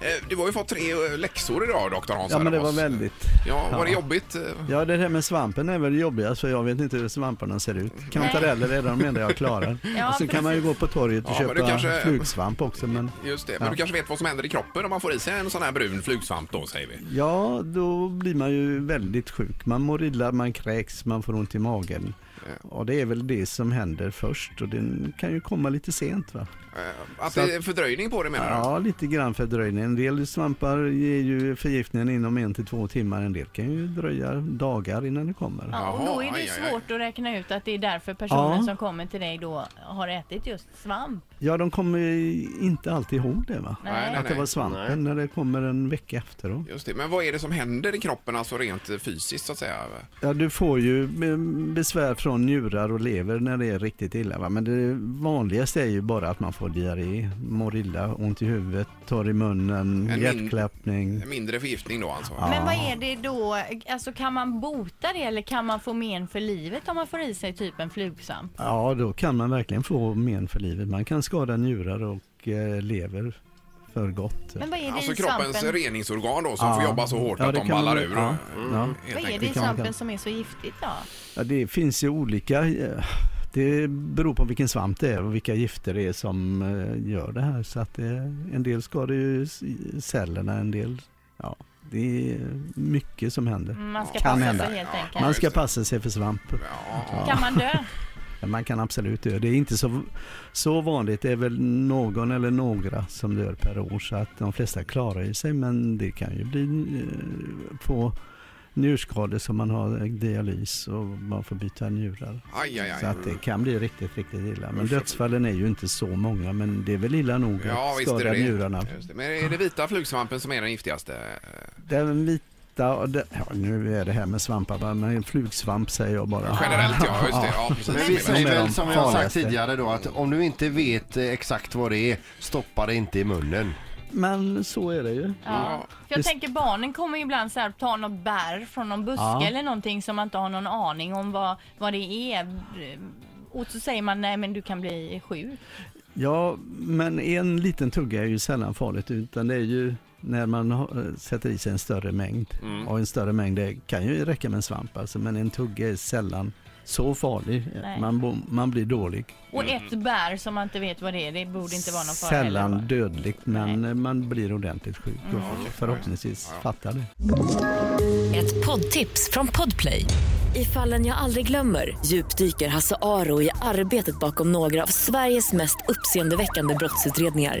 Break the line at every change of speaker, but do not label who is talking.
Eh, Du har ju fått tre eh, läxor idag, doktor Hans.
Ja men det var
Hermos.
väldigt...
Ja, var det
Ja.
jobbigt? Eh,
Ja det här med svampen är väl jobbiga så jag vet inte hur svamparna ser ut. Kantareller är de enda jag klarar.
Ja,
och sen kan man ju gå på torget och
Ja, men
köpa
du kanske-
flugsvamp också men
Just det, men
Ja.
du kanske vet vad som händer i kroppen om man får i sig en sån här brun flugsvamp då, säger vi.
ja då blir man ju väldigt sjuk. Man mår illa, man kräks, man får ont i magen. Och det är väl det som händer först och den kan ju komma lite sent va.
Eh, Att
Så
det är fördröjning på det menar du?
Ja lite grann fördröjning. En del svampar ger ju förgiftningen inom en till två timmar. En del kan ju dröja dagar innan det kommer.
Ja, och
Jaha,
då är det
aj, aj, aj.
svårt att räkna ut att det är därför personen
Ja.
som kommer till dig då har ätit just svamp.
Ja de kommer ju inte alltid ihåg det va.
Nej, nej,
Att det
nej.
var svampen när det kommer en vecka efteråt.
Just det, men vad är det som händer i kroppen, alltså rent eh, fysiskt så att säga?
Ja, du får ju eh, besvär från njurar och lever när det är riktigt illa. Va? Men det vanligaste är ju bara att man får diarré, mår illa, ont i huvudet, torr i munnen,
En
hjärtklappning.
Eh, Mindre förgiftning då alltså?
Ja.
Men vad är det då, alltså kan man bota det eller kan man få men för livet om man får i sig typ en flugsvamp?
Ja, då kan man verkligen få men för livet. Man kan skada njurar och eh, lever för gott.
Men vad är det
Alltså
i
kroppens
svampen?
reningsorgan då som
Ja.
får jobba så hårt
Ja,
att
det
de
kan man-
ballar ur?
ja.
eh, helt
Ja.
Vad är
enkelt.
det i
kan man-
svampen som är så giftigt då?
Ja, det finns ju olika. eh, Det beror på vilken svamp det är och vilka gifter det är som eh, gör det här. Så att det, en del skadar ju s- cellerna, en del... Ja, det är mycket som händer.
Mm, Man ska
Kan
passa
hända.
sig helt
Mm. Ja.
enkelt.
Man ska
just det.
passa sig för svamp.
Ja.
Kan man dö?
Man kan absolut dö. Det är inte så, så vanligt. Det är väl någon eller några som dör per år så att de flesta klarar ju sig men det kan ju bli eh, få njurskador som man har dialys och man får byta njurar.
Aj, aj, aj.
Så att det kan bli riktigt, riktigt illa. Men dödsfallen är ju inte så många men det är väl illa nog
Ja,
att
visst är
skada
det.
njurarna.
Just det. Men är det vita flugsvampen som är den giftigaste?
Den vita, och det- ja, nu är det här med svampar va, men flugsvamp säger jag bara.
Generellt ja, just det. Ja, precis.
Men
Men
vi
de
säger
är
väl
de
som jag har sagt
farligaste.
tidigare då att om du inte vet eh, exakt vad det är, stoppa det inte i munnen.
Men så är det ju.
Ja. För jag
Just-
tänker barnen kommer ju ibland så här, ta något bär från någon buske
Ja.
eller någonting som man inte har någon aning om vad, vad det är. Och så säger man nej men du kan bli sjuk.
Ja, men en liten tugga är ju sällan farligt utan det är ju när man har- sätter i sig en större mängd.
Mm.
Och en större mängd det kan ju räcka med en svamp alltså, men en tugga är sällan så farlig.
Nej.
Man, bo- man blir dålig.
Och ett bär som man inte vet vad det är, det borde inte vara någon fara
Sällan
heller, va?
dödligt, men man blir ordentligt sjuk och förhoppningsvis fattar det.
Ett poddtips från Podplay. I fallen jag aldrig glömmer djupdyker Hasse Aro i arbetet bakom några av Sveriges mest uppseendeväckande brottsutredningar.